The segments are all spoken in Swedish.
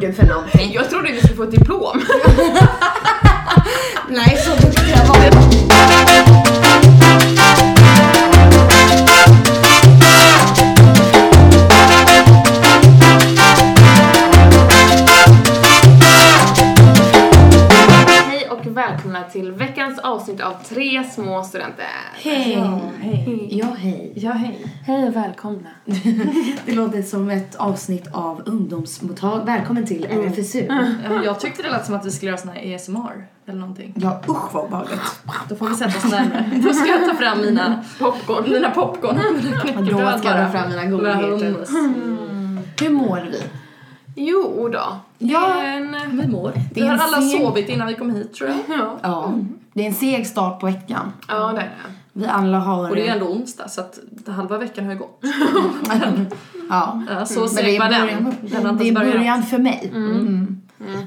du för någonting? Jag trodde vi skulle få ett diplom. Nej, så duktig jag var Hej och välkomna till veckans avsnitt av Tre små studenter. Hej! Ja, hej. Ja, hej. Ja, hej. Hej och välkomna. Det låter som ett avsnitt av ungdomsmottag. Välkommen till RFSU. Ja, men Jag tyckte det lät som att vi skulle göra sån här ASMR eller någonting. Ja, usch vad obehagligt. Då får vi sätta oss närmare. Då ska jag ta fram mina popcorn, mina popcorn, mina Och då knäckebröd ska jag ta bara. fram mina Våra godheter. hummus. Hur mår vi? Jo då. Ja. Men, Vi mår. är Vi har en alla seg- Mm. sovit innan vi kom hit tror jag. ja. Ja, det är en seg start på veckan. ja, det är det. Vi alla har... Och det är ju ändå onsdag så att halva veckan har ju gått. ja. Ja, Så Mm. Men det seg var är den. Den har början, det är inte ens börjat. början för mig. Mm.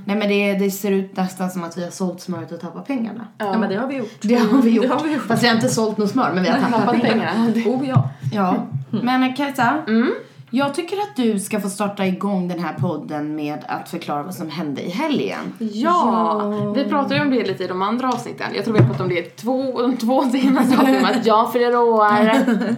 Nej men det, det ser ut nästan som att vi har sålt smöret och tappat pengarna. Ja men det har vi gjort. Det har vi gjort. Mm, Det har vi gjort. Fast vi har inte sålt något smör men vi har tappat pengar. Oh ja. Ja. Men eh, Kajsa, jag tycker att du ska få starta igång den här podden med att förklara vad som hände i helgen. Ja, vi pratade ju om det lite i de andra avsnitten. Jag tror vi har pratat om det i två, de två senaste avsnitten. Att jag fyller år. Mm,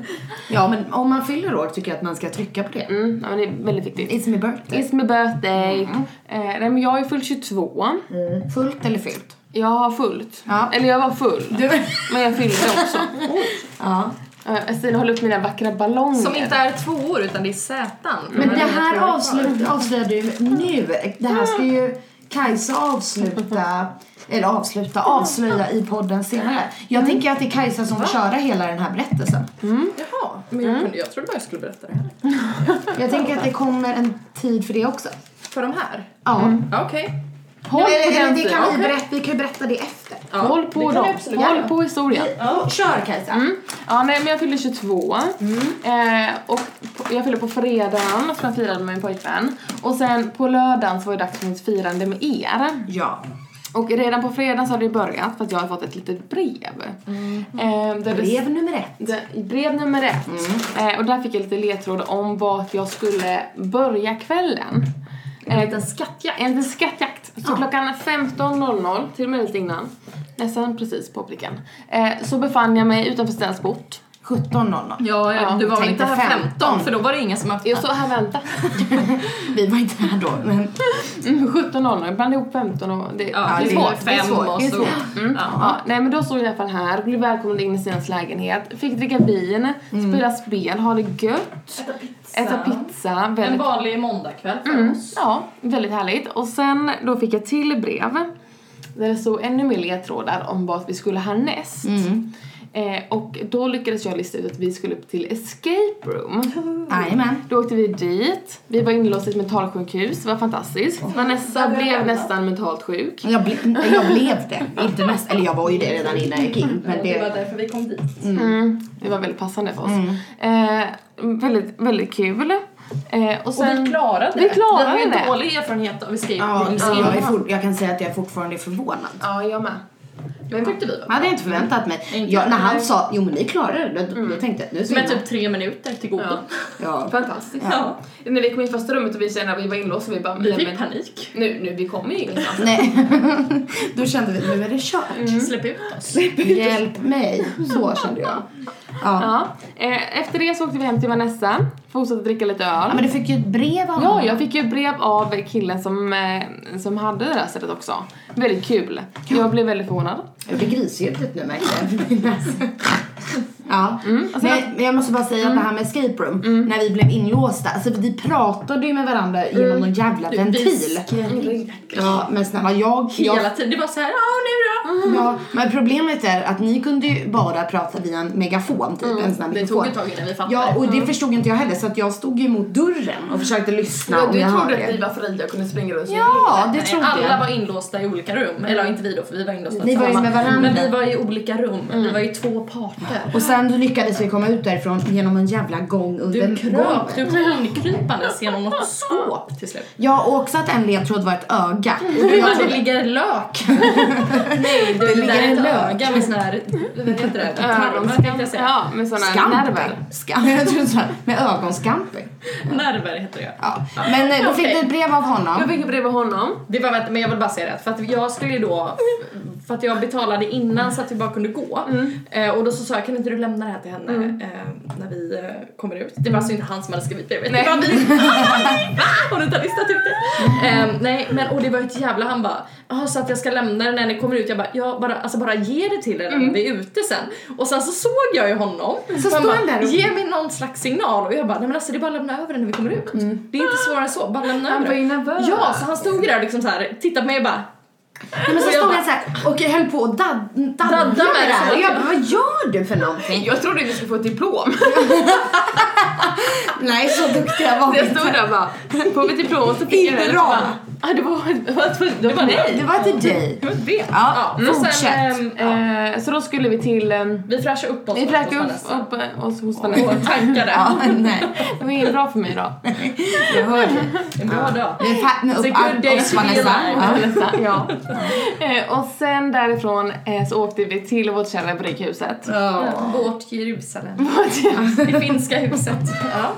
Ja men om man fyller år tycker jag att man ska trycka på det. Mm, ja, men det är väldigt viktigt. It's my birthday. It's my birthday. Eh, nej, men jag har ju fyllt 22. Mm. Fullt eller fyllt? Jag har fullt. Ja. Eller jag var full. Du. Men jag fyllde också. Ja. Eh, Stina håller upp mina vackra ballonger. Som inte är två år utan det är Zätan. Mm. Men det jag här tror avslut, avslöjar du nu. Det här ska ju Kajsa avsluta, eller avsluta, avslöja i podden senare. Jag tänker att det är Kajsa som får köra hela den här berättelsen. Mm. Jaha, men Mm. jag, kunde, jag trodde bara jag skulle berätta det här. Jag tänker att det kommer en tid för det också. För de här? Ja. Ja, Okej. Håll Eller, på eller den det kan vi, sidan. berätta, vi kan ju berätta det efter. Ja, Håll på det kan vi dem. absolut Håll göra. på historien. Ja. Kör Kajsa. Mm. Ja, nej, men jag fyllde 22. Mm. Eh, och på, jag fyllde på fredagen, för jag firade med min pojkvän. Och sen på lördagen så var det dags för mitt firande med er. Ja. Och redan på fredagen så hade det börjat för att jag hade fått ett litet brev. Mm. Eh, där det- Brev nummer ett. det- brev nummer ett. Eh, och där fick jag lite ledtråd om vart jag skulle börja kvällen. Eh, En liten skattjakt. En liten skattjakt. Så Ja. klockan 15.00, till och med lite innan, nästan precis på pricken, eh, så befann jag mig utanför Stensbort. 17.00. Ja, Ja, ja, du var väl tänkte inte här 15, 15, för då var det ingen som öppnade. Jag står här och väntar. Vi var inte här då. Men, Mm, 17.00, jag blandade ihop 15 och det, Ja, det är det svårt. är det är svårt, och det är så. Mm. Ja, nej men då stod jag i alla fall här, blev välkommen in i Stinas lägenhet, fick dricka vin, spela spel, ha det gött, äta pizza. En Väldigt, vanlig måndagkväll för mm, oss. ja, väldigt härligt. Och sen då fick jag till brev där det stod ännu mer ledtrådar om vad vi skulle härnäst. Mm. Mm. Eh, och då lyckades jag lista ut att vi skulle till escape room. Jajamän. Då åkte vi dit, vi var inlåsta i ett mentalsjukhus, det var fantastiskt. Vanessa blev nästan mentalt sjuk. Jag, ble, jag blev det. Inte mest, eller jag var ju det redan innan jag gick in. Men Det var det, därför vi kom dit. Mm. Det var väldigt passande för oss. Mm. Eh, väldigt, väldigt kul. Eh, och Och sen... vi klarade det. Vi klarade vi har ju det. en dålig erfarenhet av escape Mm. ja, rooms så jag, är innan. for, jag kan säga att jag fortfarande är förvånad. ja, jag med. Men tyckte vi var hade jag inte förväntat mig. Jag, när han sa jo men ni klarar det, då, då tänkte jag nu Med svimmar typ tre minuter till godo. Ja. ja. Fantastiskt. Ja. När vi kom in i första rummet och vi kände att vi var inlåsta vi bara... Vi nej, fick men- panik. Nu, nu, vi kommer ju ingenstans. Nej. då kände vi nu är det kört. Släpp ut oss. Hjälp mig. Så kände jag. Ja. Ja. Eh, efter det så åkte vi hem till Vanessa, fortsatte dricka lite öl. ja men du fick ju ett brev av Ja, honom. jag fick ju brev av killen som, eh, som hade det där stället också. Väldigt kul. Jag blev väldigt förvånad. Jag blir grisljudet nu märkte jag. Ja. Mm. Alltså, och sen- men, men jag måste bara säga att det här med escape room, när vi blev inlåsta, alltså vi pratade ju med varandra Mm. genom någon jävla ventil. Mm. Ja, men snälla jag, jag Hela tiden. Det var så här, ja nu då? Ja, men problemet är att ni kunde ju bara prata via en megafon, typ en sån här Mm. Det mikrofon. tog ett tag innan vi fattade. Ja, och det förstod inte jag heller så att jag stod ju mot dörren och försökte lyssna om jag hörde. var fria och kunde springa runt Ja, det Nej, trodde alla jag. var inlåsta i olika rum. Eller inte vi då, för vi var inlåsta Ni var ju med tillsammans. varandra. Men vi var i olika rum. Vi Mm. var ju två parter. Och sen lyckades vi komma ut därifrån genom en jävla gång Du under kröp, golvet. du inkrypandes genom något skåp till slut. Ja, och också att en ledtråd var ett öga. Och Du jag det trodde, ligger lök. Nej, du, ligger det ligger en en lök. öga med sån här, vad heter det, tarmar tänkte jag säga. Ja, med sådana nerver. Skampen. Skam, jag trodde så här, med ögonskampen. Nerver heter det. Ja. Men eh, då fick Okej. du ett brev av Jag honom. fick ett brev av honom. Det var värt, men jag vill bara säga det, för att jag skulle ju då, för att jag betalade innan så att vi bara kunde gå. Mm. Eh, och då så sa jag, kan inte du lämna det här till henne eh, när vi eh, kommer ut? Det var alltså inte han som hade skrivit brevet, Nej. det var vi. Har du inte listat ut det? Eh, nej, men och det var ju ett jävla, han bara, jaha så att jag ska lämna det när ni kommer ut? Jag bara, ja bara, alltså bara ge det till er när Mm. vi är ute sen. Och sen så såg jag ju honom. Så han står bara, han där och- Ge mig någon slags signal och jag bara, nej men alltså det är bara att lämna över den när vi kommer ut. Mm. Det är inte svårare än så, bara lämna Han över var den. ju nervös. Ja, så han stod ju där och liksom så här, tittade på mig och bara Nej, men så Och jag stod bara- han såhär och höll på att dad, dadda, Dadda med med det det, här. så Och jag att- bara, vad gör du för någonting? Jag trodde vi skulle få ett diplom. Nej, så duktiga var vi Jag stod inte. där och bara, får vi diplom? Och så fick jag Inte det. bra. Ah, det var, det var, det var nej. Det var till dig. Det var det. Ja, och sen, fortsätt. ehm, ja, Eh, så då skulle vi till... ehm, vi fräschar upp oss. Vi fräkade hos upp, Vanessa. upp oss hos Vanessa. Och tankade. Ja, nej. Det var inget bra för mig idag. Jag hörde. En bra dag. Nu fattade Så upp good allt day oss to be Vanessa. alive. Ja. Vanessa, ja. Eh, Och sen därifrån eh, så åkte vi till vårt kära brygghuset. Vårt Jerusalem. Det finska huset. Ja.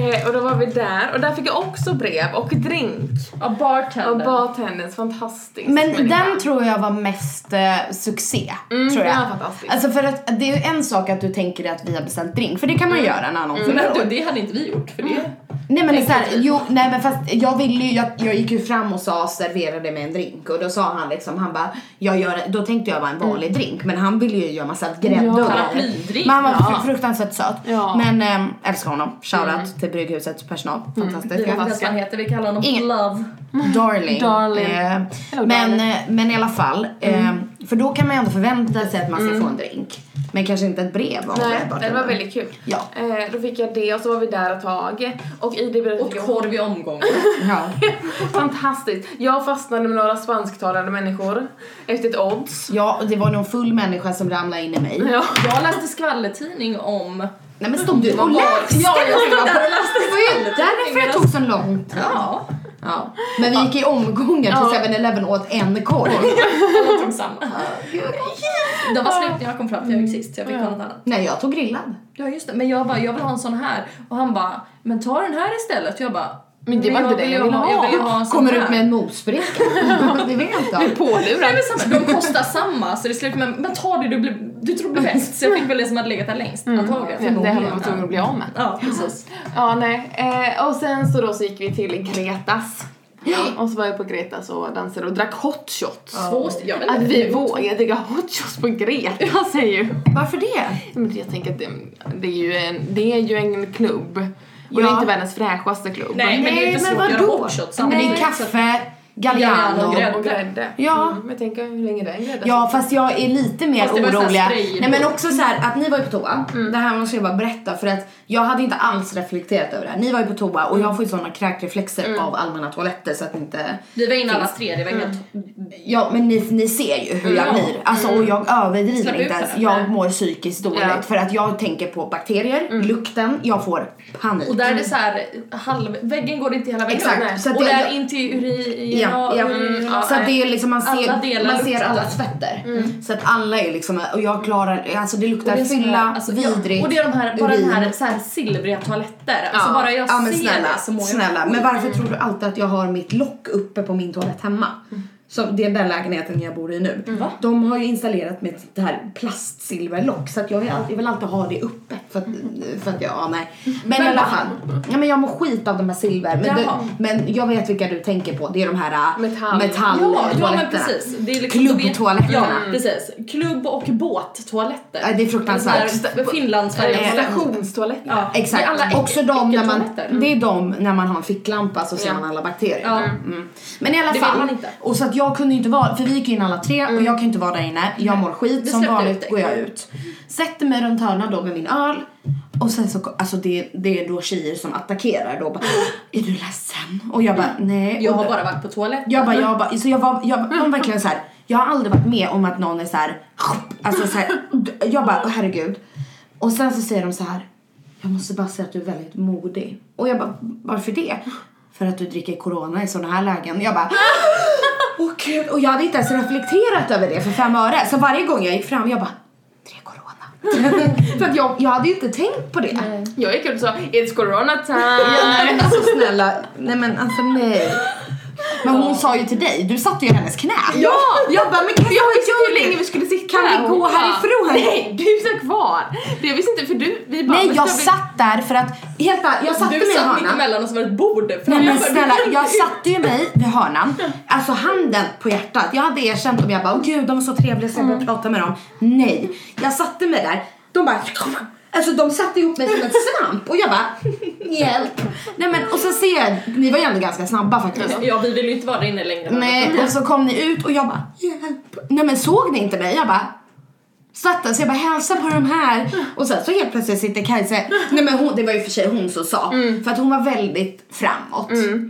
Eh, Och då var vi där och där fick jag också brev och drink. Och Och bartender. bartenders, fantastiskt. Men den tror jag var mest eh, succé. Mm, tror jag. den var fantastisk. Alltså för att det är ju en sak att du tänker dig att vi har beställt drink, för det kan man Mm. ju göra när någon fyller men år. du, det hade inte vi gjort för det. Nej men Tänk såhär, på typ. jo, nej men fast jag ville ju, jag, jag gick ju fram och sa serverade mig en drink och då sa han liksom, han bara, jag gör, då tänkte jag bara en vanlig drink men han ville ju göra massa grädde och Mm. Ja. grejer. Paraplydrink. Men han var Ja. fr- fruktansvärt söt. Ja. Mm. Men äm, älskar honom, shoutout till brygghusets personal, fantastiskt. Vi vet inte ens vad han heter, vi kallar honom Ingen- Love. Darling. Darling. Eh, Hello, men, darling. eh, men i alla fall, Mm. eh, för då kan man ju ändå förvänta sig att man ska få en drink. Men kanske inte ett brev om Nej, bara- det var väldigt kul. Ja. Eh, Då fick jag det och så var vi där ett tag. Och i det brevet Åt fick jag korv i omgångar. Ja. Fantastiskt! Jag fastnade med några spansktalande människor efter ett odds. ja, och det var någon full människa som ramlade in i mig. Ja. Jag läste skvallertidning om... Nej men stod du Vad och var- läste? Ja, jag stod där och läste Det var ju därför det tog så lång tid. Ja, Ja. Men vi gick i omgångar till Ja. 7-Eleven och åt en korv. alla tog samma. De var slut när jag kom fram för jag gick sist, jag fick ta något annat. Nej, jag tog grillad. Ja just det, men jag bara jag vill ha en sån här och han bara men ta den här istället och jag bara Men det var jag inte det jag ville ha." Jag vill ju ha en sån Kommer här. ut med en mosbricka. det vet jag inte. Nej Pålurad. men samma, de kostar samma så det slutar med men ta det du, blir, du tror blir bäst så jag fick väl det som hade legat där längst antagligen. Mm. Det hade man varit tvungen att bli av med. Ja precis. Ja, nej. Eh, och sen så då så gick vi till Gretas. Och så var jag på Gretas och dansade och drack hot shots. Två stycken, jag vet Att inte. vi vågar dricka hot shots på Gretas är ju... Varför det? Men jag tänker att det, det, är ju en, det är ju en klubb. Och det är Ja. inte världens fräschaste klubb. Nej, men det är Nej, inte men svårt att göra vadå? hot shots Men det är samtidigt. kaffe, Galliano Galliano. och grädde. Och grädde. Ja. Mm, men tänk hur länge den grädden Ja fast jag är lite mer Alltså, Fast det var ju så här orolig. spray Mm. Nej men då. också så här att ni var ju på toa. Det här måste jag bara berätta för att jag hade inte alls reflekterat över det här. Ni var ju på toa och jag får ju sådana kräkreflexer Mm. av allmänna toaletter så att inte... Vi var inne alla tre, det var helt... Ja men ni, ni ser ju hur jag Ja. blir. Alltså och jag överdriver Mm. Släpp ut inte ens. den. Jag Nej. mår psykiskt dåligt Ja. för att jag tänker på bakterier, lukten, jag får panik. Mm. Och där är det så här, halv, väggen går inte hela vägen Exakt, upp. så att och det- där in till urin... Ja, ja. urin- ja, så att det är liksom man mm, eh, alla ser, delar man ser luktar. Mm. alla tvätter. Så att alla är liksom, och jag klarar, alltså det Och luktar det är såna- fylla, alltså, ja, vidrigt, Och det är de här, bara urin. den här, så här silvriga toaletter. Alltså Ja. bara jag ja, men ser snälla, det så Mm. mår jag snälla. Men varför tror du alltid att jag har mitt lock uppe på min toalett hemma? Mm. Så det är den lägenheten jag bor i nu. De har ju installerat mitt det här plastsilverlock så att jag vill alltid, jag vill alltid ha det uppe för att, Mm. för att jag, ja nej. Men i alla fall, ja, men jag mår skit av de här silver. Men, du, Jaha. men jag vet vilka du tänker på, det är de här äh, Metall. Ja, ja men metalltoaletterna. precis. Det är liksom- Klubbtoaletterna. Ja, precis. Klubb och båttoaletter. Ja, det är fruktansvärt. Där- Finland, Sverige. Eh, Stationstoaletten. Ja. Exakt, Det är alla äck- också de när man, äckeltoaletter. det är de när man har en ficklampa så ser Ja. man alla bakterier. Ja. Mm. Men i alla Det vill fall, man inte. och så att jag kunde ju inte vara, för vi gick in alla tre och jag kan ju inte vara där inne, jag mår skit, Vi som släppte vanligt ut dig. går jag ut. Sätter mig runt hörnan då med min öl och sen så, alltså det, det är då tjejer som attackerar då bara, är du ledsen? Och jag bara, nej. Mm. Jag Och har då- bara varit på toaletten. jag bara, jag bara, så jag var, jag de var verkligen så här. Jag har aldrig varit med om att någon är så här, alltså så här, jag bara, åh, herregud. Och sen så säger de så här, jag måste bara säga att du är väldigt modig. Och jag bara, varför det? För att du dricker corona i sådana här lägen. Jag bara, åh gud. Och jag hade inte ens reflekterat över det för fem öre. Så varje gång jag gick fram, jag bara, det är corona. För att jag, jag hade ju inte tänkt på det. Jag gick ut och sa It's corona time! Alltså snälla, nej men alltså nej. Men hon sa ju till dig, du satt ju i hennes knä. Ja! Jag bara, men kan Jag visste ju hur länge vi skulle sitta Kan vi här. Hon gå bara, härifrån? Nej, du satt kvar! För Jag visste inte för du, vi bara Nej men jag ska vi- satt där för att, helt ärligt, jag satte Du mig i satt hörnan. mittemellan och så var det ett bord Nej men framför. snälla, Du kunde jag inte- satte ju mig vid hörnan, alltså handen på hjärtat. Jag hade erkänt dem, jag bara åh gud de var så trevliga så jag började prata med dem. Nej, jag satte mig där, de bara Alltså de satte ihop mig som en svamp och jag bara hjälp. Nej men och så ser jag, ni var ju ändå ganska snabba faktiskt. Ja, vi vill ju inte vara där inne Äh, längre. Nej och så kom ni ut och jag bara hjälp. Nej men såg ni inte mig? Jag bara satt där så jag bara hälsa på de här och sen så helt plötsligt sitter Kajsa, nej men hon, det var ju för sig hon som sa för att hon var väldigt framåt Mm.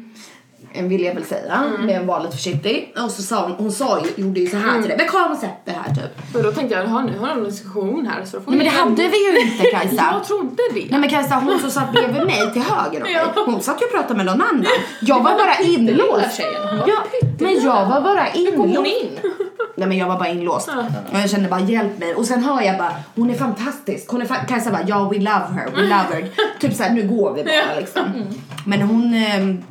Eh, vill jag väl säga, men jag var lite försiktig och så sa hon, hon sa ju, gjorde ju så här till dig, men kom och sätt det här typ. Och då tänkte jag, "Jaha, nu har de en diskussion här så då får Nej men det vi- hade vi ju inte Kajsa. Jag trodde det. Nej men Kajsa hon som satt bredvid mig till höger om mig, Ja. hon satt ju och pratade med någon annan. Jag var bara Lilla inlåst. tjejen, hon var Ja, men jag var bara kom hon inlåst. in? Nej men jag var bara inlåst. Och jag kände bara hjälp mig. Och sen hör jag bara hon är fantastisk. Hon är fa- Kajsa bara ja we love her, we love her. typ såhär nu går vi bara liksom. Mm. Men hon, ehm,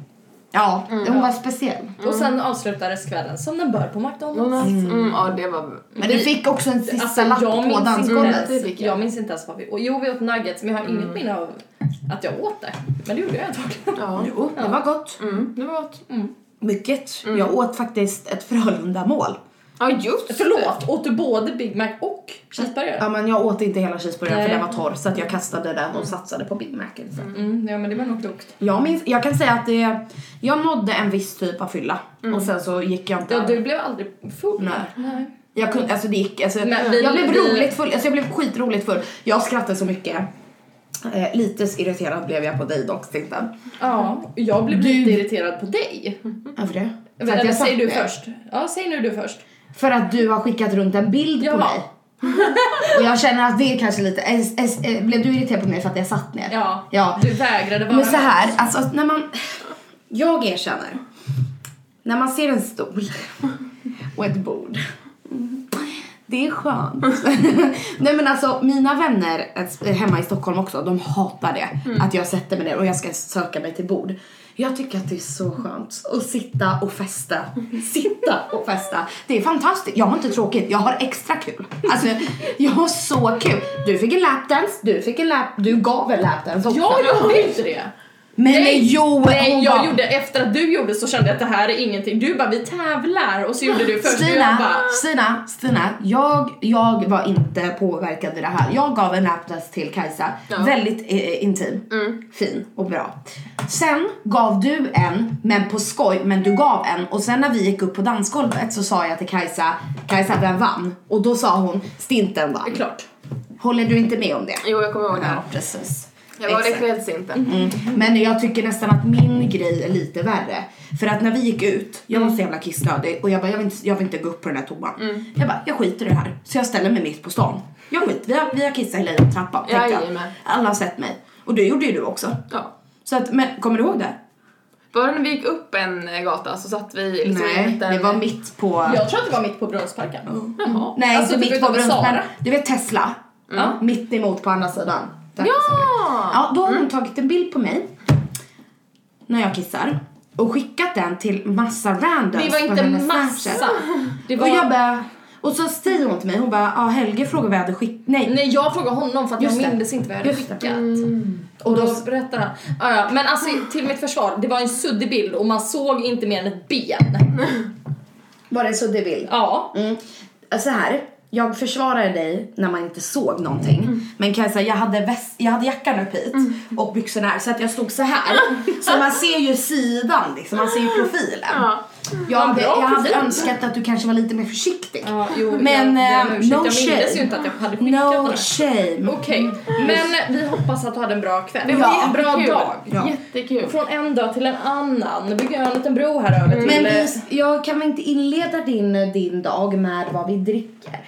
ja hon var speciell. Och sen avslutades kvällen som den bör på McDonalds. Mm. Mm, ja, det var... Men du fick också en sista Alltså, lapp jag på minns dansgolvet. inte. Det fick jag. Jag minns inte ens vad vi åt. Jo, vi åt nuggets, men jag har inget minne av att jag åt det. Men det gjorde jag antagligen. Ja. Jo, det var gott. Mm, det var gott. Mycket. Mm. Jag åt faktiskt ett Frölunda-mål. Ja, just det. Förlåt, åt du både Big Mac och cheeseburgare? Ja men jag åt inte hela cheeseburgaren för Nej. den var torr så att jag kastade den och satsade på Big Mac. istället. Mm, ja, men det var nog klokt. Jag, minns, jag kan säga att det, jag nådde en viss typ av fylla och sen så gick jag inte Mm. Ja, över. du blev aldrig full. Nej. Nej. Jag kunde, alltså det gick, alltså, Men vi- jag blev vi- roligt full, alltså jag blev skitroligt full. Jag skrattade så mycket. Eh, lite irriterad blev jag på dig dock Stinten. Ja, jag blev Du- lite irriterad på dig. Varför det? För Eller jag säg satt du ner. först. Ja, säg nu du först. För att du har skickat runt en bild på Jaha. mig. Och jag känner att det är kanske lite, es, es, eh, blev du irriterad på mig för att jag satt ner? Ja, ja. du vägrade vara Men så med. här, alltså när man... Jag erkänner. När man ser en stol och ett bord. Det är skönt. Nej men alltså mina vänner eh, hemma i Stockholm också, de hatar det. Att jag sätter mig ner och jag ska söka mig till bord. Jag tycker att det är så skönt att sitta och festa. Sitta och festa. Det är fantastiskt. Jag har inte tråkigt, jag har extra kul. Alltså jag har så kul. Du fick en lapdance, du fick en lap... Du gav en lapdance också. Jag gjorde inte det. Men Nej, jo, Nej, hon jag bara, gjorde, efter att du gjorde så kände jag att det här är ingenting. Du bara, vi tävlar. Och så gjorde du först och jag Stina, bara, Stina, Stina, jag, jag var inte påverkad i det här. Jag gav en lapdance till Kajsa, Ja. väldigt eh, intim, Mm. fin och bra. Sen gav du en, men på skoj, men du gav en och sen när vi gick upp på dansgolvet så sa jag till Kajsa, Kajsa vem vann? Och då sa hon, Stinten vann. klart. Håller du inte med om det? Jo, jag kommer ihåg det. Ja, här. precis. Jag var det Exakt. krävs inte. Mm. Men jag tycker nästan att min grej är lite värre. För att när vi gick ut, jag var så jävla kissnödig och jag bara, jag vill inte, jag vill inte gå upp på den här toan. Jag bara, jag skiter i det här. Så jag ställer mig mitt på stan. Jag skiter, vi har, vi har kissat hela den trappan. tänkte jag. Jajamän. Alla har sett mig. Och det gjorde ju du också. Ja. Så att, men kommer du ihåg det? Var det när vi gick upp en eh, gata så satt vi liksom i en Nej, liten... det var mitt på... Jag tror att det var mitt på Brunnsparken. Jaha. Nej, Alltså, inte typ mitt på utanför Brunnsberg. Sara. Du vet Tesla? Ja. Mitt emot på andra sidan. Där kissade vi. Ja! Ja, då har hon tagit en bild på mig när jag kissar och skickat den till massa randoms Det var på inte hennes massa. Snapchat. Det var... Och jag bara, och så säger hon till mig, hon bara, ja ah, Helge frågade vad jag hade skickat, nej. Nej, jag frågade honom för att Just det. jag mindes inte vad jag hade Just det. skickat. Och då, Då berättar han. Ja, ja. Men alltså till mitt försvar, det var en suddig bild och man såg inte mer än ett ben. var det en suddig bild? Ja. Mm. Så här, jag försvarade dig när man inte såg någonting. Mm. Men kan jag säga, jag hade, väst, jag hade jackan upp hit och byxorna här så att jag stod så här. så man ser ju sidan liksom, man ser ju profilen. Ja. Jag, hade, bra jag hade profil. önskat att du kanske var lite mer försiktig. ja jo, Men jag, eh, jag, no ursäkt, jag mindes ju shame. inte att jag hade skickat den No här. shame. Okej, men vi hoppas att du hade en bra kväll. Det var Ja, en bra Jättekul. dag. Ja. Jättekul. Från en dag till en annan. Nu bygger jag en liten bro här över till... Men eh, vi, jag kan väl inte inleda din, eh, din dag med vad vi dricker?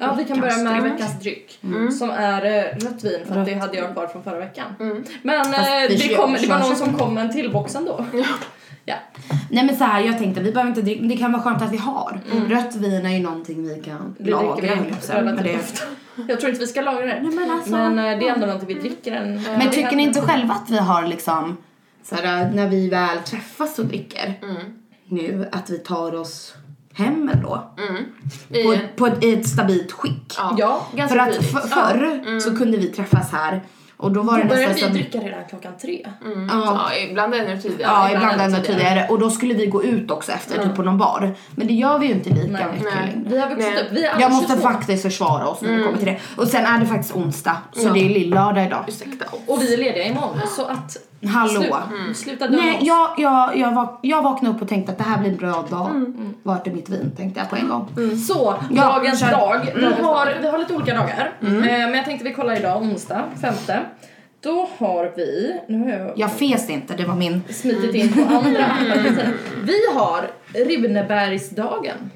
ja, vi kan börja med dryck. veckans dryck. Mm. Som är eh, rött vin, för att det hade jag kvar från förra veckan. Men Mm. Fast eh, vi det, kör- kom, det var kör- någon som kom med en till box ändå. Ja. Nej men så här, jag tänkte vi behöver inte dricka, men det kan vara skönt att vi har. Rött vin är ju någonting vi kan Mm. Det dricker vi laga höll jag på att säga, men relativt det, ofta. Jag tror inte vi ska lagra det. Nej, men alltså. Men, eh, det är ändå någonting vi dricker en... Men tycker ni inte själva att vi har liksom så här, när vi väl träffas och dricker Mm, nu att vi tar oss hem då? mm. I, På, på ett, i ett stabilt skick. ja, Ja, För Mm. ganska att tidigt. f- förr så kunde vi träffas här och då var det Då börjar nästan vi som- dricka redan klockan tre. Ja, Ja, ibland ännu tidigare. ja, ibland ännu ännu tidigare. Och då skulle vi gå ut också efter, typ på någon bar. Men det gör vi ju inte lika Nej. Mm. mycket Nej. längre. Vi har vuxit Nej. upp. Vi är alla Jag måste 22. faktiskt försvara oss när det kommer till det. Och sen är det faktiskt onsdag, så det är lillördag idag. Ursäkta. Och vi är lediga imorgon. Så att... Hallå. Mm. Slu- Sluta döma Nej, oss. jag, jag, jag, vak- jag vaknade upp och tänkte att det här blir en bra dag. Mm, Vart är mitt vin? Tänkte jag på en gång. Så, Ja, dagens kör. dag. Vi har, vi har lite olika dagar. Eh, men jag tänkte vi kollar idag, onsdag, femte. Då har vi... Nu har jag Jag fes inte, det var min. smitit in på andra. Vi har Ribnebergsdagen.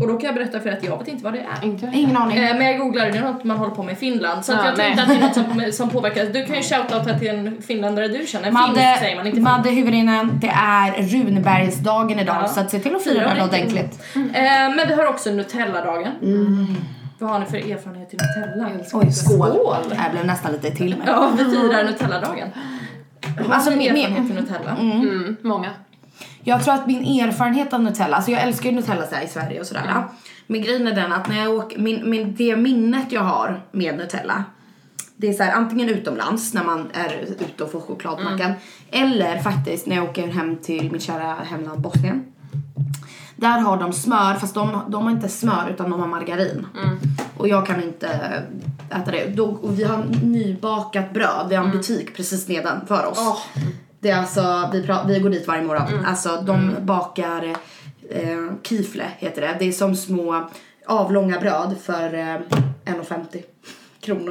Och då kan jag berätta för er att jag vet inte vad det är. Inte jag. Ingen aning. Eh, Men jag googlade, det är något man håller på med i Finland. Så att Ja, jag tror nej. inte att det är något som, som påverkar. Du kan ju shoutouta till en finländare du känner. Finsk säger man, inte finsk. Madde Huvudinen, det är Runbergsdagen idag Ja. så att se till att fira Fira den det. ordentligt. Eh, Men vi har också Nutelladagen. Vad har ni för erfarenhet till Nutella? Oj, skål. Skål. Jag blev nästan lite till med. Ja, vi firar Nutelladagen. Alltså, Alltså min min- erfarenhet till Nutella. Mm, många. Jag tror att min erfarenhet av Nutella, alltså jag älskar ju Nutella så här i Sverige och sådär. Men grejen är den att när jag åker, min, min, det minnet jag har med Nutella, det är så här, antingen utomlands när man är ute och får chokladmackan. Eller faktiskt när jag åker hem till mitt kära hemland Bosnien. Där har de smör, fast de, de har inte smör utan de har margarin. Mm. Och jag kan inte äta det. Då, och vi har nybakat bröd, vi har en Mm. butik precis nedanför oss. Det är alltså, vi, pra, vi går dit varje morgon. Mm. Alltså de bakar eh, kifle heter det. Det är som små avlånga bröd för eh, 1,50 kronor.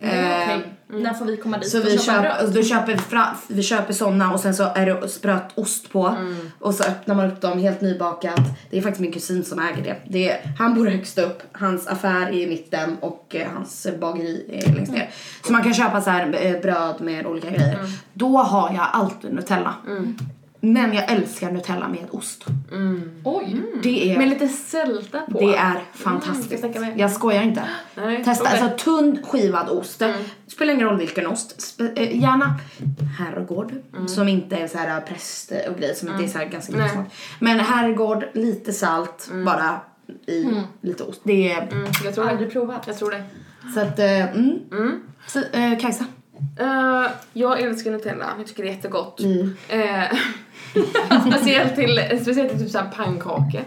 Mm, Eh, okej. När får vi komma dit så och vi, köpa bröd? köp, då köper vi, fra, vi köper såna och sen så är det spröt ost på Mm. och så öppnar man upp dem helt nybakat. Det är faktiskt min kusin som äger det. det är, han bor högst upp, hans affär är i mitten och eh, hans bageri är längst Mm. ner. Så man kan köpa så här eh, bröd med olika grejer. Då har jag alltid Nutella. Mm. Men jag älskar Nutella med ost. Oj! Det är Med lite sälta Mm. på. det är jag fantastiskt. snacka med. jag skojar inte. Nej, Testa okej. Mm. alltså tunn skivad ost. Spelar ingen roll vilken ost. Spe- eh, gärna herrgård som inte är så här eh, präst och grejer som inte är så här ganska mycket Mm. Nej. smak. Men herrgård, lite salt bara i lite ost. Det är Mm, jag tror Aldrig det. provat. Jag tror det. så att eh, mm. Så, eh, Kajsa. Eh, jag älskar Nutella, jag tycker det är jättegott. Mm. Eh, speciellt till, speciellt till typ såhär pannkakor.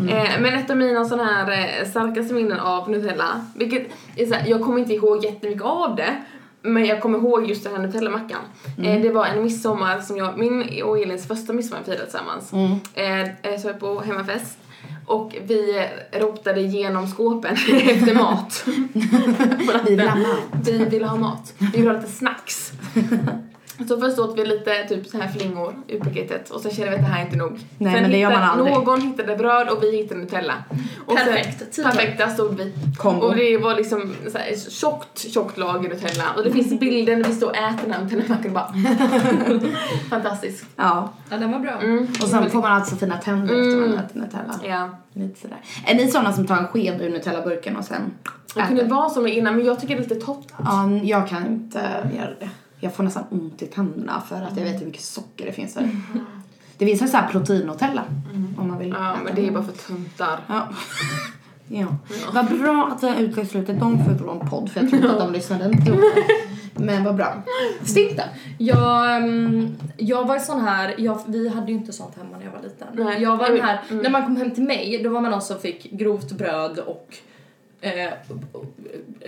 Mm. Eh, men ett av mina sån här eh, starkaste minnen av Nutella, vilket är såhär, jag kommer inte ihåg jättemycket av det, men jag kommer ihåg just den här Nutella-mackan. Mm. Eh, det var en midsommar som jag, min och Elins första midsommar vi firade tillsammans. Mm. Eh, eh, så jag på hemmafest. Och vi eh, rotade igenom skåpen efter mat. Vi vill ha mat. Vi ville ha mat. Vi ville ha lite snacks. Så först åt vi lite typ så här flingor ur paketet och sen kände vi att det här är inte nog. Nej, sen men det gör man hittade- aldrig. Någon hittade bröd och vi hittade Nutella. Och Perfekt, Sen, tiden. perfekt, där stod vi. Kombo. Och det var liksom så här, tjockt, tjockt lager Nutella. Och det finns bilder när vi står och äter den här Nutella-mackan och bara... Fantastiskt. Ja. Ja, den var bra. Mm. Och sen får man alltså fina tänder efter man Mm. äter Nutella. Ja. Lite sådär. Är ni såna som tar en sked ur Nutella-burken och sen Det kunde vara som det innan men jag tycker det är lite torrt. Ja, n- jag kan inte göra det. Jag får nästan ont i tänderna för att jag vet hur mycket socker det finns där. Det finns en sån här proteinnutella om man vill Ja, äta men den. det är bara för tuntar. Ja. ja. Vad bra att vi har uteslutit dem för vår podd för jag tror inte att de lyssnade inte. gjorde det. Men vad bra. Stinta. Jag, ehm, jag var sån här, jag, vi hade ju inte sånt hemma när jag var liten. Nej. Jag var den här, Mm. när man kom hem till mig då var man någon som fick grovt bröd och eh,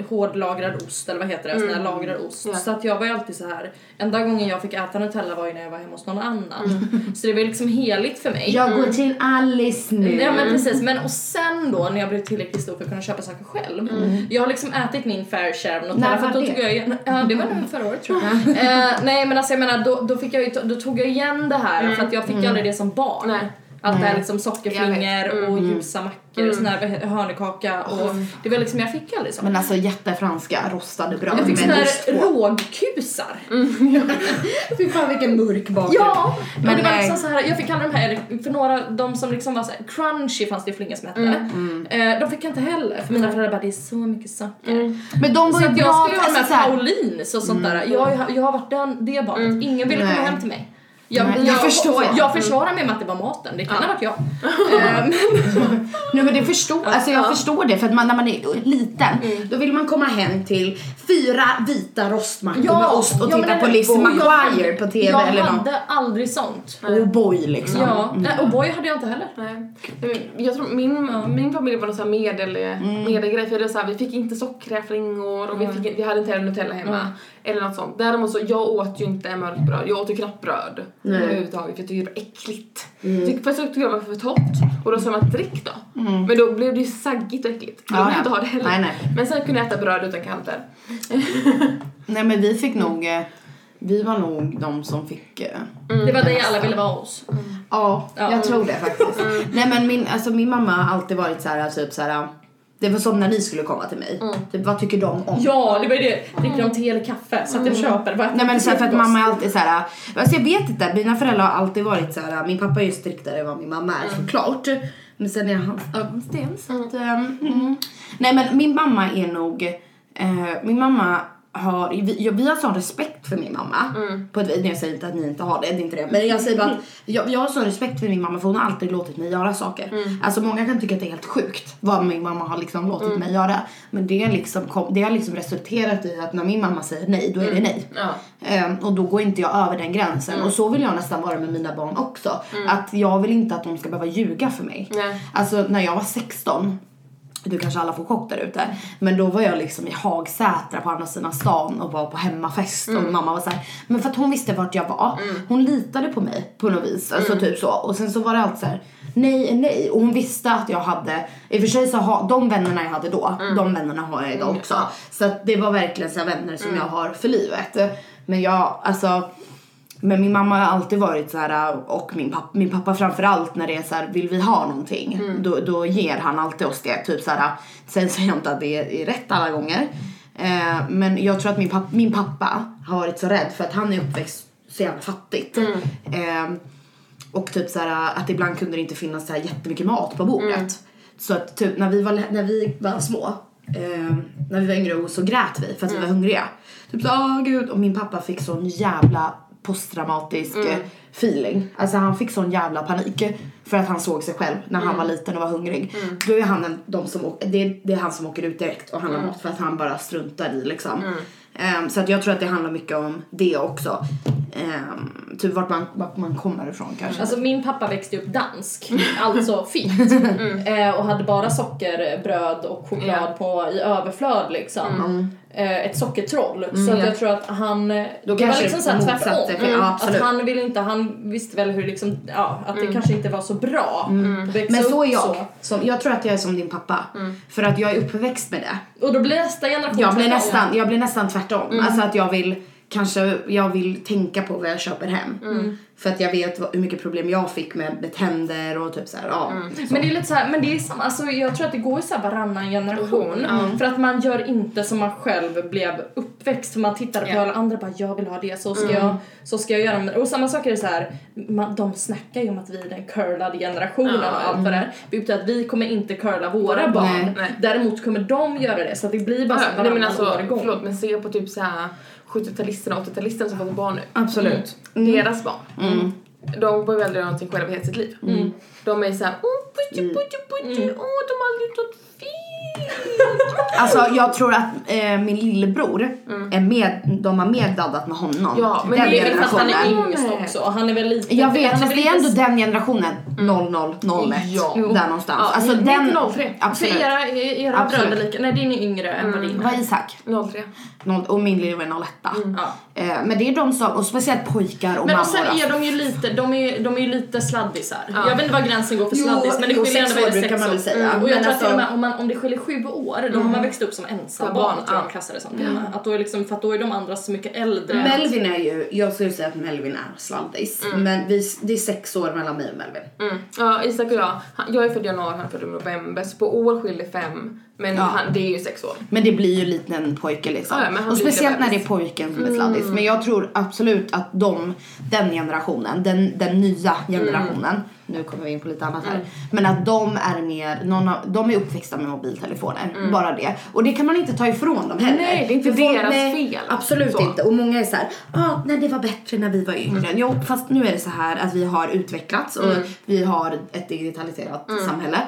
hårdlagrad ost eller vad heter det, sån här lagrad ost. Ja. Så att jag var ju alltid så här. enda gången jag fick äta Nutella var ju när jag var hemma hos någon annan. Så det var ju liksom heligt för mig. Jag går till Alice nu. Ja men precis, men och sen då när jag blev tillräckligt stor för att kunna köpa saker själv. Jag har liksom ätit min fair share av Mm. När Nutella för var att då det? tog jag igen, ja det var nog förra året tror jag. eh, nej men alltså jag menar då, då fick jag ju, ta- då tog jag igen det här för att jag fick ju aldrig det som barn. Nej. Att Allt det här Mm. Nej. Mm. liksom sockerflingor och ljusa mackor och sån här hörnekaka och det var liksom, jag fick aldrig sånt. Men alltså jättefranska rostade bröd Jag fick såna med här ost på. rågkusar. Fy fan vilken mörk bakgrund. Ja! Men Men det var nej. liksom så här, jag fick alla de här, för några, de som liksom var så här, crunchy fanns det ju flingor som hette. Mm. mm, Eh, de fick jag inte heller, för mina föräldrar bara det är så mycket socker. mm. Men de var Så ju att jag bra, skulle göra alltså med såhär. Paulins och Mm. sånt där. Jag, jag, jag har varit den, det barnet. Ingen ville komma Nej. hem till mig. Jag, Nej, jag förstår. Jag försvarar mig med att det var maten, det kan ha varit jag. Eh, men- Nej men det förstår, alltså jag Ja. förstår det för att man, när man är liten Mm. då vill man komma hem till fyra vita rostmackor med ost och ja, men titta på eller- Lizzie och jag McGuire hade- på TV jag eller något. hade aldrig sånt. Oh boy liksom. Ja, nej, och boy hade jag inte heller. Nej. Nej, men Mm, Jag tror min, min familj var någon sån här medel, Mm. medelgrej. För det var så här, vi fick inte sockriga flingor och vi, fick, in- vi hade inte heller Nutella hemma. Mm. Eller något sånt. Däremot så, jag åt ju inte mörkt bröd. Jag åt ju knappt bröd Nej. överhuvudtaget för jag tyckte det var äckligt. Mm. Först tyckte jag det var för torrt och då sa man drick då. Men då blev det ju saggigt och äckligt. Då Mm. Ja, ville jag ja. inte ha det heller. Nej, nej. Men sen kunde jag äta bröd utan kanter. Nej men vi fick nog, eh, vi var nog de som fick eh, Mm. Det var det alla ville vara hos. Ja, Ja. Mm. jag tror det faktiskt. Nej men min, alltså min mamma har alltid varit så här typ så här. Det var som när ni skulle komma till Mm. mig. Typ vad tycker de om? Ja, det var ju det. Dricker de te eller kaffe? Så Mm. att jag köper. Vad Nej men så här, för att frukost? mamma är alltid så här. Alltså jag vet inte, mina föräldrar har alltid varit så här. Min pappa är ju striktare än vad min mamma är såklart. Men sen är han ögonsten så att, ehm, mm. Nej men min mamma är nog, eh, min mamma har, vi, ja, vi har sån respekt för min mamma. På ett, vis. jag säger inte att ni inte har det, det är inte det. Men jag säger bara att jag, jag har sån respekt för min mamma för hon har alltid låtit mig göra saker. Alltså många kan tycka att det är helt sjukt vad min mamma har liksom låtit mig göra. Men det, är liksom kom, det har liksom resulterat i att när min mamma säger nej, då är det nej. Ja. Ehm, och då går inte jag över den gränsen. Och så vill jag nästan vara med mina barn också. Att jag vill inte att de ska behöva ljuga för mig. Nej. Alltså när jag var 16, du kanske alla får chock där ute. Men då var jag liksom i Hagsätra på andra sidan stan och var på hemmafest. Och mamma var så här, men för att hon visste vart jag var. Hon litade på mig på något vis. Alltså typ så. Och sen så var det alltid så här, nej, nej. Och hon visste att jag hade, i och för sig så har de vännerna jag hade då, de vännerna har jag idag också. Så att det var verkligen så här vänner som jag har för livet. Men jag, alltså men min mamma har alltid varit så här och min pappa, min pappa framförallt när det är så här vill vi ha någonting då, då ger han alltid oss det typ så här sen säger jag inte att det är, är rätt alla gånger eh, men jag tror att min pappa, min pappa har varit så rädd för att han är uppväxt så jävla fattigt eh, och typ så här att ibland kunde det inte finnas så här jättemycket mat på bordet så att typ när vi var, när vi var små eh, när vi var yngre och så grät vi för att vi var hungriga. Typ så, åh gud. Och min pappa fick sån jävla posttraumatisk eh, feeling. Alltså han fick sån jävla panik för att han såg sig själv när han var liten och var hungrig. Då är han en, de som, åker- det, är, det är han som åker ut direkt och handlar mat för att han bara struntar i liksom. Ehm, så att jag tror att det handlar mycket om det också. Ehm, typ vart man, vart man kommer ifrån kanske. Alltså min pappa växte upp dansk, alltså fint. Mm. Eh, och hade bara sockerbröd och choklad Ja. på, i överflöd liksom. Mm. Eh, ett sockertroll. Så att jag tror att han, Då det var kanske liksom såhär motsatte tvärtom. effekt, ja, att absolut. Mm. han ville inte, han visste väl hur liksom, ja, att det kanske inte var så bra. att växa Men så upp är jag. Som, jag tror att jag är som din pappa. För att jag är uppväxt med det. Och då blir nästa generation Jag blir tvärtom. nästan, jag blir nästan tvärtom. Alltså att jag vill kanske jag vill tänka på vad jag köper hem. För att jag vet vad, hur mycket problem jag fick med, med tänder och typ så här, ja. Men det är lite så här, men det är samma, alltså jag tror att det går i så här varannan generation. Mm. För att man gör inte som man själv blev uppväxt. För man tittar på Ja. alla andra och bara jag vill ha det, så ska, Mm. jag, så ska jag göra. Men- Och samma sak är det så här, man, de snackar ju om att vi är den curlade generationen Ja. och allt vad det är. Vilket att vi kommer inte curla våra barn. Nej, nej. Däremot kommer de göra det. Så att det blir bara så här Nej men varannan alltså, årgång. förlåt men se på typ såhär 70-talisterna och 80-talisterna som får barn nu. Mm. Absolut. deras barn. De behöver aldrig göra någonting själva i hela sitt liv. Mm. De är såhär, åh putti putti putti, åh de har aldrig gjort något fint. Alltså jag tror att eh, min lillebror är med, de har medladdat med honom. Ja, men den Men det är väl för att han generationen. är Mm. generationen. yngst också. och Han är väl lite... jag vet, han fast väl det är inte ändå den generationen. 0001. Ja. Där någonstans. Ja, alltså ni- den... 03. Absolut. För era, era Absolut. Mm. bröder lika... Nej, din är yngre än vad din är. Vad är Isak? 03. Noll- Och min lillebror är 01. Ja. Eh, men det är de som, och speciellt pojkar och Men mammor. och sen alltså. är de ju lite, de är, ju- de är ju lite sladdisar. Jag vet inte var gränsen går för sladdis men det jo, skiljer ändå sex år väldigt brukar man väl säga. Och jag Men tror att alltså- Mm. till och med om, man, om det skiljer sju år, då har man växt upp som ensam Som barn, barn, tror jag ja. de klassar det som. Att då är liksom, för att då är de andra så mycket äldre. Melvin är ju, jag skulle säga att Melvin är sladdis. Men vi, det är sex år mellan mig och Melvin. Mm. Ja, Isak och jag, han, jag är född i januari, han är född i november, så på år skiljer fem, men Ja. han, det är ju sex år. Men det blir ju lite en pojke liksom. Ja, ja, men han och blir speciellt lite Mm. när det är pojken som är sladdis. Men jag tror absolut att de, den generationen, den, den nya Mm. generationen, nu kommer vi in på lite annat här. Men att de är mer, någon av, de är uppväxta med mobiltelefoner. Bara det. Och det kan man inte ta ifrån dem heller. Mm. Nej, det är inte För folk- deras nej, fel. Absolut Så. inte. Och många är så här, ah, nej det var bättre när vi var yngre. Mm. Jo, fast nu är det så här att vi har utvecklats och vi har ett digitaliserat Mm. samhälle.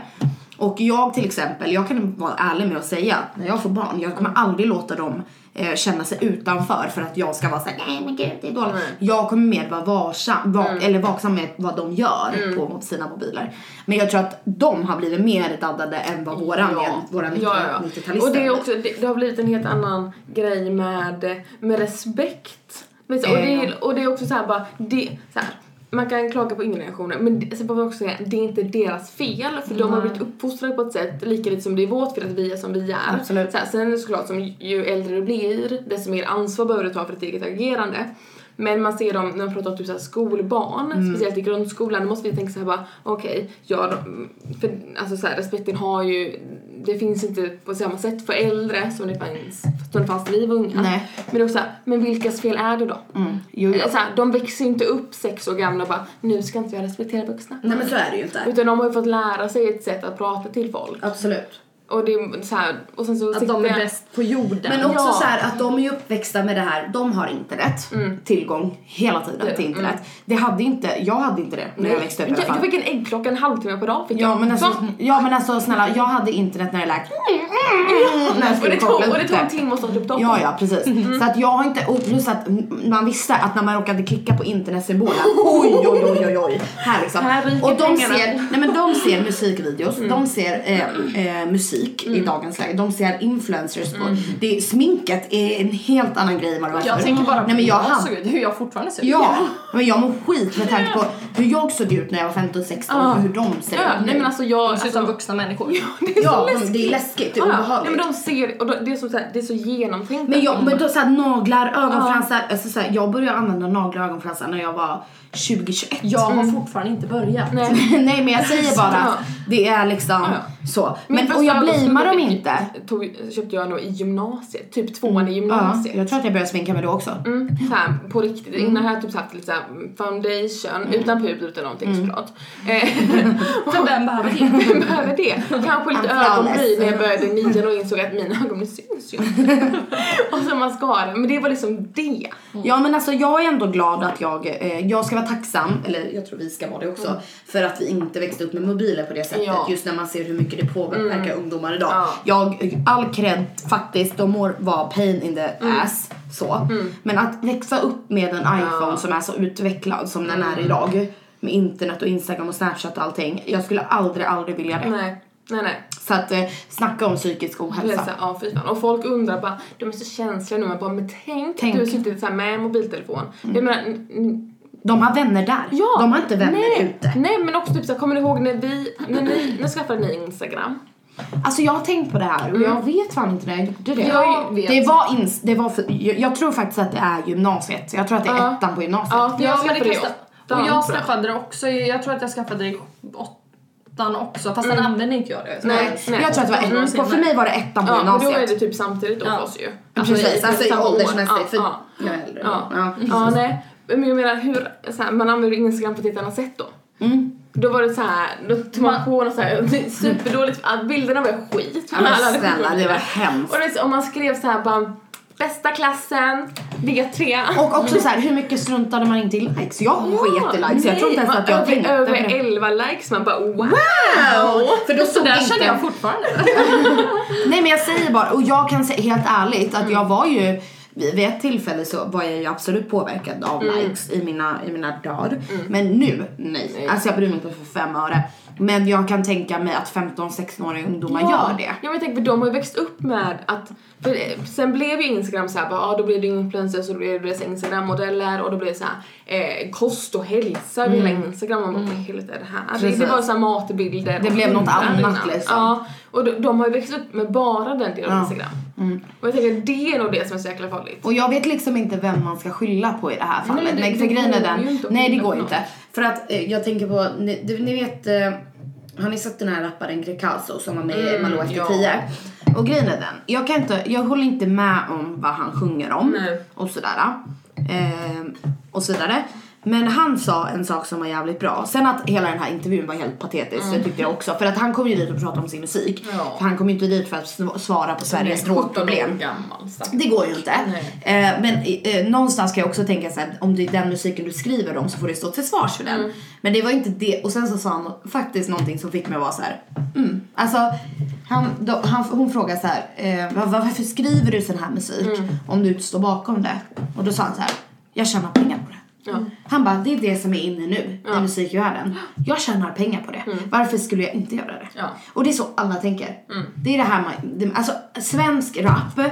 Och jag till exempel, jag kan vara ärlig med att säga att när jag får barn, jag kommer aldrig låta dem eh, känna sig utanför för att jag ska vara såhär, nej men gud det är dåligt. Mm. Jag kommer mer vara varsam, va- eller vaksam med vad de gör Mm. på sina mobiler. Men jag tror att de har blivit mer daddade än vad våran, Ja. våran Ja, 90-talister ja, ja. Och det, är också, det, det har blivit en helt annan grej med, med respekt. Men så, och, det, Eh, är- och det är också så här bara, det, så här, man kan klaga på yngre generationer men det, så får man också säga, det är inte deras fel för de har blivit uppfostrade på ett sätt lika lite som det är vårt fel att vi är som vi är. Absolut. Så här, sen är det såklart som ju äldre du blir desto mer ansvar behöver du ta för ditt eget agerande. Men man ser dem när man pratar om typ så här skolbarn, Mm. speciellt i grundskolan, då måste vi tänka så här bara okej, ja, de- för, alltså så här, respekten har ju, det finns inte på samma sätt för äldre som det fanns, som det fanns när vi var unga. Nej. Men det är också så här, men vilkas fel är det då? Mm. Jo, jo. Eh, Så här, de växer ju inte upp sex år gamla och bara nu ska inte jag respektera vuxna. Nej men så är det ju inte. Utan de har ju fått lära sig ett sätt att prata till folk. Absolut. Och det är så här, och sen så Att de är sitter- bäst på jorden. Men också Ja. så här att de är ju uppväxta med det här, de har internet, Mm. tillgång hela tiden till internet. Det hade inte, jag hade inte det när jag växte upp i alla jag, jag fall. fick en äggklocka en halvtimme per dag. Fick Ja jag. men, alltså, Va? ja men alltså snälla, jag hade internet när det lät när jag Och skulle det tog, koppla och det upp tog en det. timme att starta upp datorn. Ja, ja precis. Mm. Så att jag har inte, och plus att m- man visste att när man råkade klicka på internetsymbolen, oj oj oj oj oj, här liksom. Här ryker och de pengarna. Mm. ser, nej men de ser musikvideos, de ser eh, eh, musik i dagens läge, de ser influencers Mm. på, det, sminket är en helt annan grej än vad det var jag förr. tänker bara på nej, men jag hur hade, såg ut, hur jag fortfarande ser ut. Ja, men jag mår skit med tanke på hur jag såg ut när jag var 15 16 Ja. och hur de ser Ja, ut nej men nu. alltså jag... De ser ut som Alltså, vuxna människor. Ja, de, det är läskigt, det är ja, ja. nej, obehagligt. men de ser, och då, det, är som så här, det är så genomtänkt. Men, jag, men då Mm. såhär naglar, ögonfransar, alltså såhär, jag började använda naglar och ögonfransar när jag var 20-21. Jag har fortfarande inte börjat. Nej. Nej men jag säger bara att det är liksom Ja. så. Min Men, och jag första blamear dem ögonfransar inte. Tog, köpte jag nog i gymnasiet, typ Mm. tvåan i Ja, gymnasiet. jag tror att jag började sminka mig då också. Mm, såhär, på riktigt. Mm. Innan har jag typ haft lite såhär foundation, utan pudel utan någonting Mm. såklart. Eh, För vem behöver det? Vem behöver det? Kanske lite I'm flawless. ögonbryn när jag började i nian och insåg att mina ögon nu syns ju inte. Och så mascara, men det var liksom det. Ja men alltså jag är ändå glad att jag, eh, jag ska vara tacksam, eller jag tror vi ska vara det också, för att vi inte växte upp med mobiler på det sättet. Mm. Ja. Mm. Just när man ser hur mycket det påverkar ungdomar idag. Ja. Jag, all cred faktiskt, de må vara pain in the Mm. ass så. Men att växa upp med en iPhone som är så utvecklad som den Mm. är idag. Med internet och instagram och snapchat och allting. Jag skulle aldrig, aldrig vilja det. Nej, nej, nej. Så att eh, snacka om psykisk Det är ohälsa. så här, ja, fy fan. Och folk undrar bara, de är så känsliga nu, men bara, men tänk, Tänk. tänk. du sitter så här med en mobiltelefon. Mm. Jag menar, n- n- De har vänner där. ja. De har inte vänner nej, ute. Nej, men också typ så här, kommer ni ihåg när vi, när ni, när skaffade ni Instagram? Alltså jag har tänkt på det här och jag vet fan inte när jag gjorde det. Mm. Jag vet. Det var ins, det var för, jag, jag tror faktiskt att det är gymnasiet. Jag tror att det är Ja. ettan på gymnasiet. Ja, för jag Ja, men skaffade det kan det jag- åttan, Och jag tror jag. skaffade det också, i- jag tror att jag skaffade det i åttan också fast Mm. sen använde inte jag det. Jag Nej, tror- nej. Jag tror att det var Mm. ettan, på, för mig var det ettan på Ja, men då är gymnasiet. det typ samtidigt då Ja. Mm. för oss ju. Precis, i- alltså i samma år. Ja, åldersmässigt. För ja. jag är äldre. Ja. Ja. Ja, nej. Men jag menar hur, så här, man använder Instagram på ett helt annat sätt då. Mm. Då var det så här, då tog man på något så här superdåligt, att bilderna var skit. Ja, men Alla hade snälla, det var Och hemskt. det, är så- om man skrev så här bara, bästa klassen, V3. Och också så här, hur mycket struntade man inte i likes? Jag sket i likes, jag tror inte ens att jag tänkte tänkte på Över det. 11 likes, man bara wow! Wow! För då såg Så där jag känner inte jag fortfarande. Nej men jag säger bara, och jag kan säga helt ärligt att jag var ju vid ett tillfälle så var jag ju absolut påverkad av likes i mina, i mina dagar. Men nu, nej. Alltså jag bryr mig inte för fem öre. Men jag kan tänka mig att 15-16-åriga ungdomar gör det. Ja men tänk för de har ju växt upp med att, för eh, sen blev ju Instagram såhär bara, ah, då blev det influencers och då blev det så här Instagram-modeller och då blev det såhär eh, kost och hälsa över hela Instagram. Man bara, vad i helvete är det här? Det- Det Mm. Precis. var såhär matbilder. och Det blev något hundar annat, innan. liksom. Ja, och de, de har ju växt upp med bara den delen av Ja. Mm. Instagram. Och jag tänker det är nog det som är så jäkla farligt. Och jag vet liksom inte vem man ska skylla på i det här fallet. Nej, det- Nej, för det grejen är går ju den. inte att Nej, det skylla går på inte. För att eh, jag tänker på, ni, du, ni vet, eh, har ni sett den här rapparen Greekazo som var med i Mm, Malou efter ja. 10? Och grejen är den, jag kan inte, jag håller inte med om vad han sjunger om Nej. och sådär. Eh, och så vidare. Men han sa en sak som var jävligt bra. Sen att hela den här intervjun var helt patetisk, det tyckte jag också. För att han kom ju dit och pratade om sin musik. Mm. Ja. För han kom ju inte dit för att sv- svara på Sveriges drogproblem. gammal stackare. Det går ju inte. Eh, men eh, någonstans kan jag också tänka så här, om det är den musiken du skriver om så får du stå till svars för Mm. den. Men det var inte det. Och sen så sa han faktiskt någonting som fick mig att vara så här. Mm. Alltså, han, då, han, hon frågade så här, eh, "Var- varför skriver du sån här musik Mm. om du inte står bakom det? Och då sa han så här, jag tjänar pengar på det. Ja. Han bara, det är det som är inne nu i musikvärlden. Jag tjänar pengar på det. Varför skulle jag inte göra det? Mm. Ja. Mm. Och det är så alla tänker. Det är det här man, det, alltså svensk rap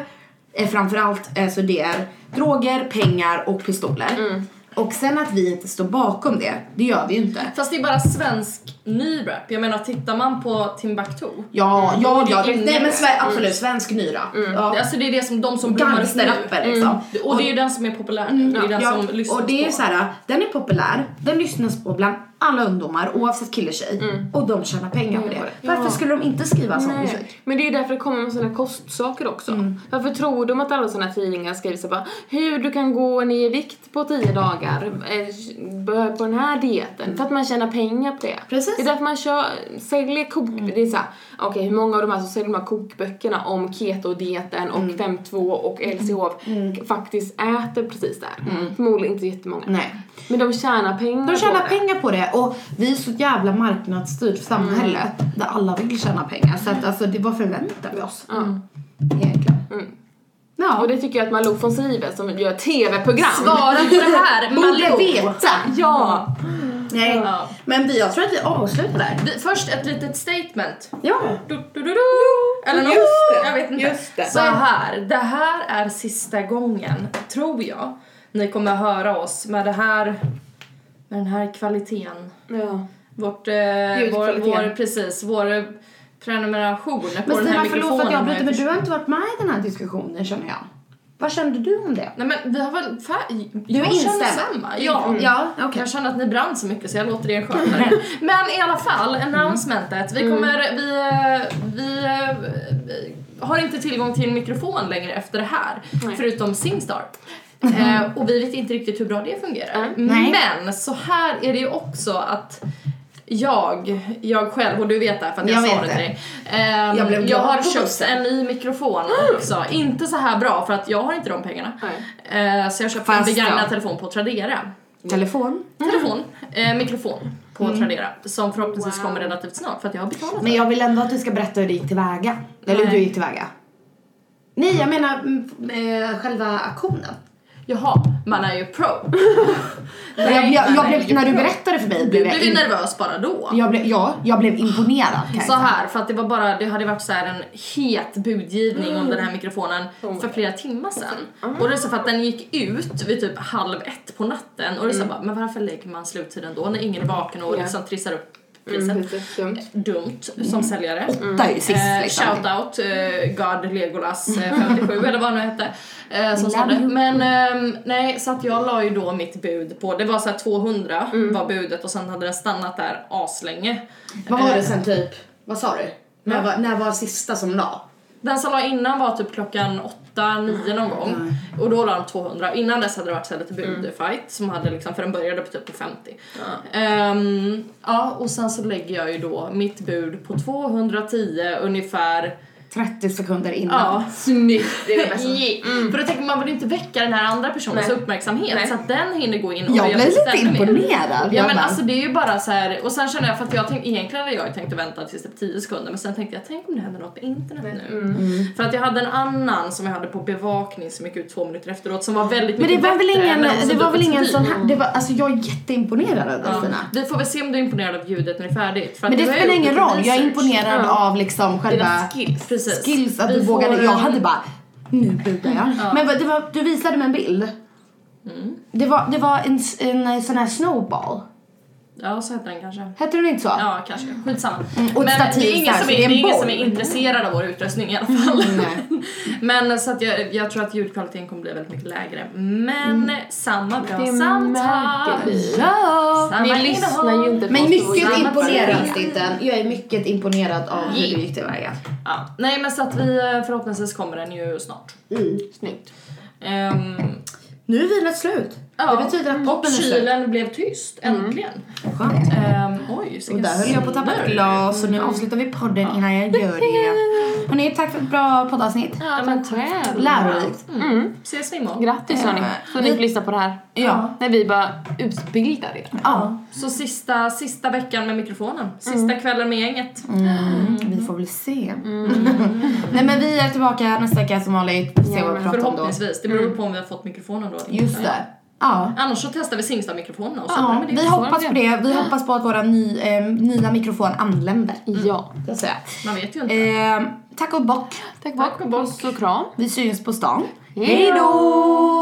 är framförallt, alltså det är droger, pengar och pistoler. Mm. Och sen att vi inte står bakom det, det gör vi ju inte. Fast det är bara svensk ny rap. Jag menar, tittar man på Timbuktu. Ja, ja, Mm. det är ja. inne Nej men med. sve, absolut, svensk ny rap. Ja. Alltså det är det som de som blommar upp nu. Gangsterrappen liksom. Och det är ju den som är populär nu. Det är den Mm. Ja, som lyssnas och det är på. så här, den är populär, den lyssnas på bland alla ungdomar oavsett kille tjej Mm. och de tjänar pengar på det. Ja. Varför skulle de inte skriva sån musik? Nej, men det är ju därför det kommer med sådana kostsaker också. Mm. Varför tror de att alla sådana tidningar skriver så bara hur du kan gå ner i vikt på 10 dagar, eh, bör på den här dieten, för att man tjänar pengar på det. Precis. Mm. Det är därför man kör, säljer kok, det är såhär, okej hur många av de här som säljer de här kokböckerna om keto-dieten Mm. och 5.2 och LCHF faktiskt äter precis det här. Förmodligen inte jättemånga. Mm. Nej. Men de tjänar pengar De tjänar på det. pengar på det och vi är så jävla marknadsstyrt samhälle Mm. där alla vill tjäna pengar. Så att alltså, det, vad förväntar vi oss? Mm. Ja. Egentligen. Mm. Ja. Och det tycker jag att Malou von Sivers som gör TV-program Svara på det här, Borde Malou! veta! Ja! Nej. Ja. Men vi, jag tror att vi avslutar där. Vi- Först ett litet statement. Ja. Du, du, du, du. Eller något. Just det, Jag vet inte. just det. Så här, det här är sista gången, tror jag, ni kommer höra oss med det här, med den här kvaliteten. Ja. Vårt, eh, vår, Ljudkvaliteten. vår, precis, vår prenumeration på Men den Stina, här förlåt mikrofonen. att jag har bryter men försvunnit. du har inte varit med i den här diskussionen känner jag. Vad kände du om det? Nej men vi har väl... Fär... Du är jag känner instämd. samma. Ja. Mm. Ja, okej. Jag känner att ni brann så mycket så jag låter er sköta det. Men i alla fall, announcementet. Mm. Vi kommer... Vi, eh, vi, eh, vi har inte tillgång till en mikrofon längre efter det här. Nej. Förutom Singstar. Eh, och vi vet inte riktigt hur bra det fungerar. Mm. Mm. Nej. Men så här är det ju också att jag, jag själv, och du vet det här för att jag, Jag sa vet det det. till dig. Ehm, Jag blev jag glad har på köpt bussen. Mm. en ny mikrofon också. Inte så här bra för att jag har inte de pengarna. Eh, så jag köpte Fast en begagnad ja. telefon på Tradera. Telefon? Telefon, eh, mikrofon på Tradera. Som förhoppningsvis Wow. kommer relativt snart för att jag har betalat Mm. Men det. jag vill ändå att du ska berätta hur det gick tillväga. Eller hur Nej. du gick tillväga. Nej, jag menar mm, eh, själva aktionen. Jaha, man är ju pro. Nej, jag, jag, jag man är blev, ju när du pro. berättade för mig Du blev jag, blev ju in, nervös bara då. jag blev, ja, jag blev imponerad kan jag Så säga. här, för att det var bara, det hade varit så här en het budgivning Mm. om den här mikrofonen Oh för flera timmar sedan. Och det är så för att den gick ut vid typ halv ett på natten och det är så Mm. bara, men varför lägger man sluttiden då när ingen är vaken och Ja. liksom trissar upp priset? Mm, precis, dumt. Dumt som säljare. Åtta är ju sist Eh, liksom. Mm. Shoutout eh, God Legolas eh, 57 eller vad han nu hette. Eh, som sa Love det. you. Men ehm, nej, så att jag la ju då mitt bud på, det var så här 200 Mm. var budet och sen hade det stannat där aslänge. Vad var det sen typ? Vad sa du? Mm. När var, när var sista som la? Den som la innan var typ klockan 8, 9 någon gång Mm. och då la de 200. Innan dess hade det varit så här lite budfight som hade liksom, för den började på typ på 50. Ehm, ja, och sen så lägger jag ju då mitt bud på 210 ungefär 30 sekunder innan. Ja. Snyggt! Det är det bästa. Mm. För då tänker man vill inte väcka den här andra personens Nej. uppmärksamhet Nej. så att den hinner gå in och Jag göra blev sitt lite ännu mer. imponerad. Ja Jag men bara, alltså det är ju bara så här och sen känner jag för att jag tänkte egentligen hade jag tänkt att vänta tills det 10 sekunder men sen tänkte jag tänk om det händer något på internet Mm. nu. För att jag hade en annan som jag hade på bevakning som gick ut två minuter efteråt som var väldigt men det mycket var väl bättre, alltså, ingen, men också det var väl dubbelt så ingen dyr. sån här, det var, alltså jag är jätteimponerad av Ja. Delfina. Vi får väl se om du är imponerad av ljudet när det är färdigt. För att Men det du har spelar gjort ingen lite roll, jag är research. imponerad Ja. av liksom själva Dina skills. Precis. skills, att Vi du vågade. får Jag en- hade bara, nu budar jag. Men vad- det var, du visade mig en bild. Mm. Det var, det var en, s- en eh, sån här snowball. Ja så heter den kanske. Hette den inte så? Ja kanske, skitsamma. Mm, och ett stativ det är ingen där, som så är, det är en det är ingen boll. Mm, som är intresserad av vår utrustning i alla fall. Nej. Men så att jag, jag tror att ljudkvaliteten kommer bli väldigt mycket lägre. Men Mm. samma bra Det samtal. märker vi. Ja. Samma Ni lyssnar ju inte på Men oss mycket då. imponerad Stinten. Jag är mycket imponerad av hur du gick tillväga. Ja. Nej men så att vi eh, förhoppningsvis kommer den ju snart. Snyggt. Ehm, Nu är vinet slut. Ja. Det betyder att och podden är slut. kylen blev tyst, äntligen. Skönt. Ehm, oj, Och vilken där höll jag på att tappa ett glas och nu avslutar vi podden innan jag gör det. Hörni, tack för ett bra poddavsnitt. Ja, men själv. Lärorikt. Ses vi imorgon. Grattis hörni, så ni får lyssna på det här. Ja. När vi bara utbildar er. Ja. Så sista, sista veckan med mikrofonen. Sista Mm. kvällen med gänget. Vi får väl se. Mm. Nej men vi är tillbaka nästa vecka som vanligt. Vi får se vad vi pratar om då. Mm. Förhoppningsvis. Det beror på om vi har fått mikrofonen då. Just det. Ja. Annars så testar vi Singsta-mikrofonerna och så ja. med det. Vi hoppas på det. Vi hoppas på att våra ny, eh, nya mikrofon anländer. Ja. Så att säga. Man vet ju inte. Eh, tack och bock. Tack, Tack och bock. Puss och kram. Vi syns på stan. Hej då!